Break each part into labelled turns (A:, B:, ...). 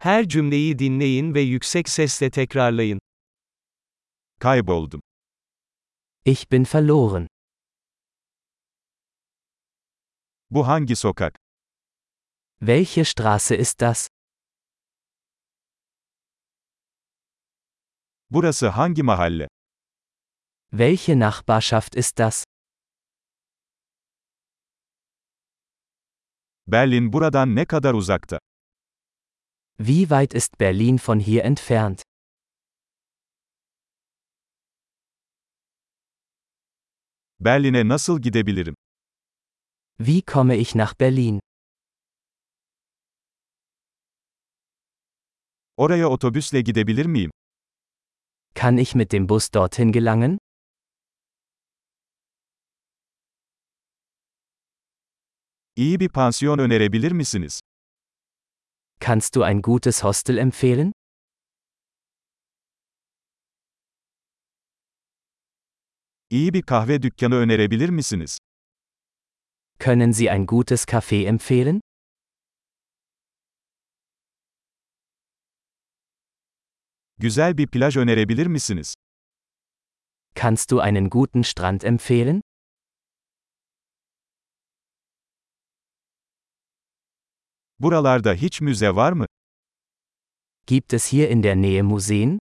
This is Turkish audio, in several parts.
A: Her cümleyi dinleyin ve yüksek sesle tekrarlayın.
B: Kayboldum.
C: Ich bin verloren.
B: Bu hangi sokak?
C: Welche Straße ist das?
B: Burası hangi mahalle?
C: Welche Nachbarschaft ist das?
B: Berlin buradan ne kadar uzakta?
C: Wie weit ist Berlin von hier entfernt?
B: Berlin'e nasıl gidebilirim?
C: Wie komme ich nach Berlin?
B: Oraya otobüsle gidebilir miyim?
C: Kann ich mit dem Bus dorthin gelangen?
B: İyi bir pansiyon önerebilir misiniz?
C: Kannst du ein gutes Hostel empfehlen?
B: İyi bir kahve dükkanı önerebilir misiniz?
C: Können Sie ein gutes Café empfehlen?
B: Güzel bir plaj önerebilir misiniz?
C: Kannst du einen guten Strand empfehlen?
B: Buralarda hiç müze var mı?
C: Gibt es hier in der Nähe Museen?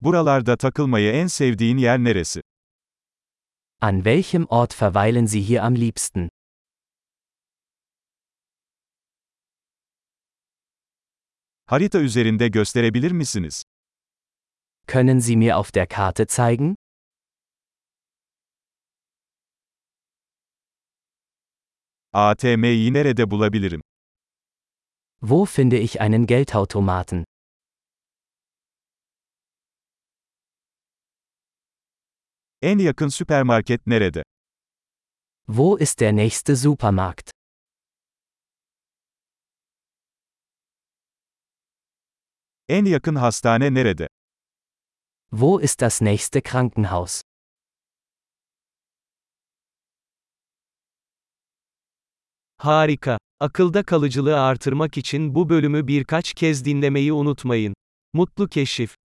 B: Buralarda takılmayı en sevdiğin yer neresi?
C: An welchem Ort verweilen Sie hier am liebsten?
B: Harita üzerinde gösterebilir misiniz?
C: Können Sie mir auf der Karte zeigen?
B: ATM'yi nerede bulabilirim?
C: Wo finde ich einen Geldautomaten?
B: En yakın süpermarket nerede?
C: Wo ist der nächste Supermarkt?
B: En yakın hastane nerede?
C: Wo ist das nächste Krankenhaus?
A: Harika. Akılda kalıcılığı artırmak için bu bölümü birkaç kez dinlemeyi unutmayın. Mutlu keşif.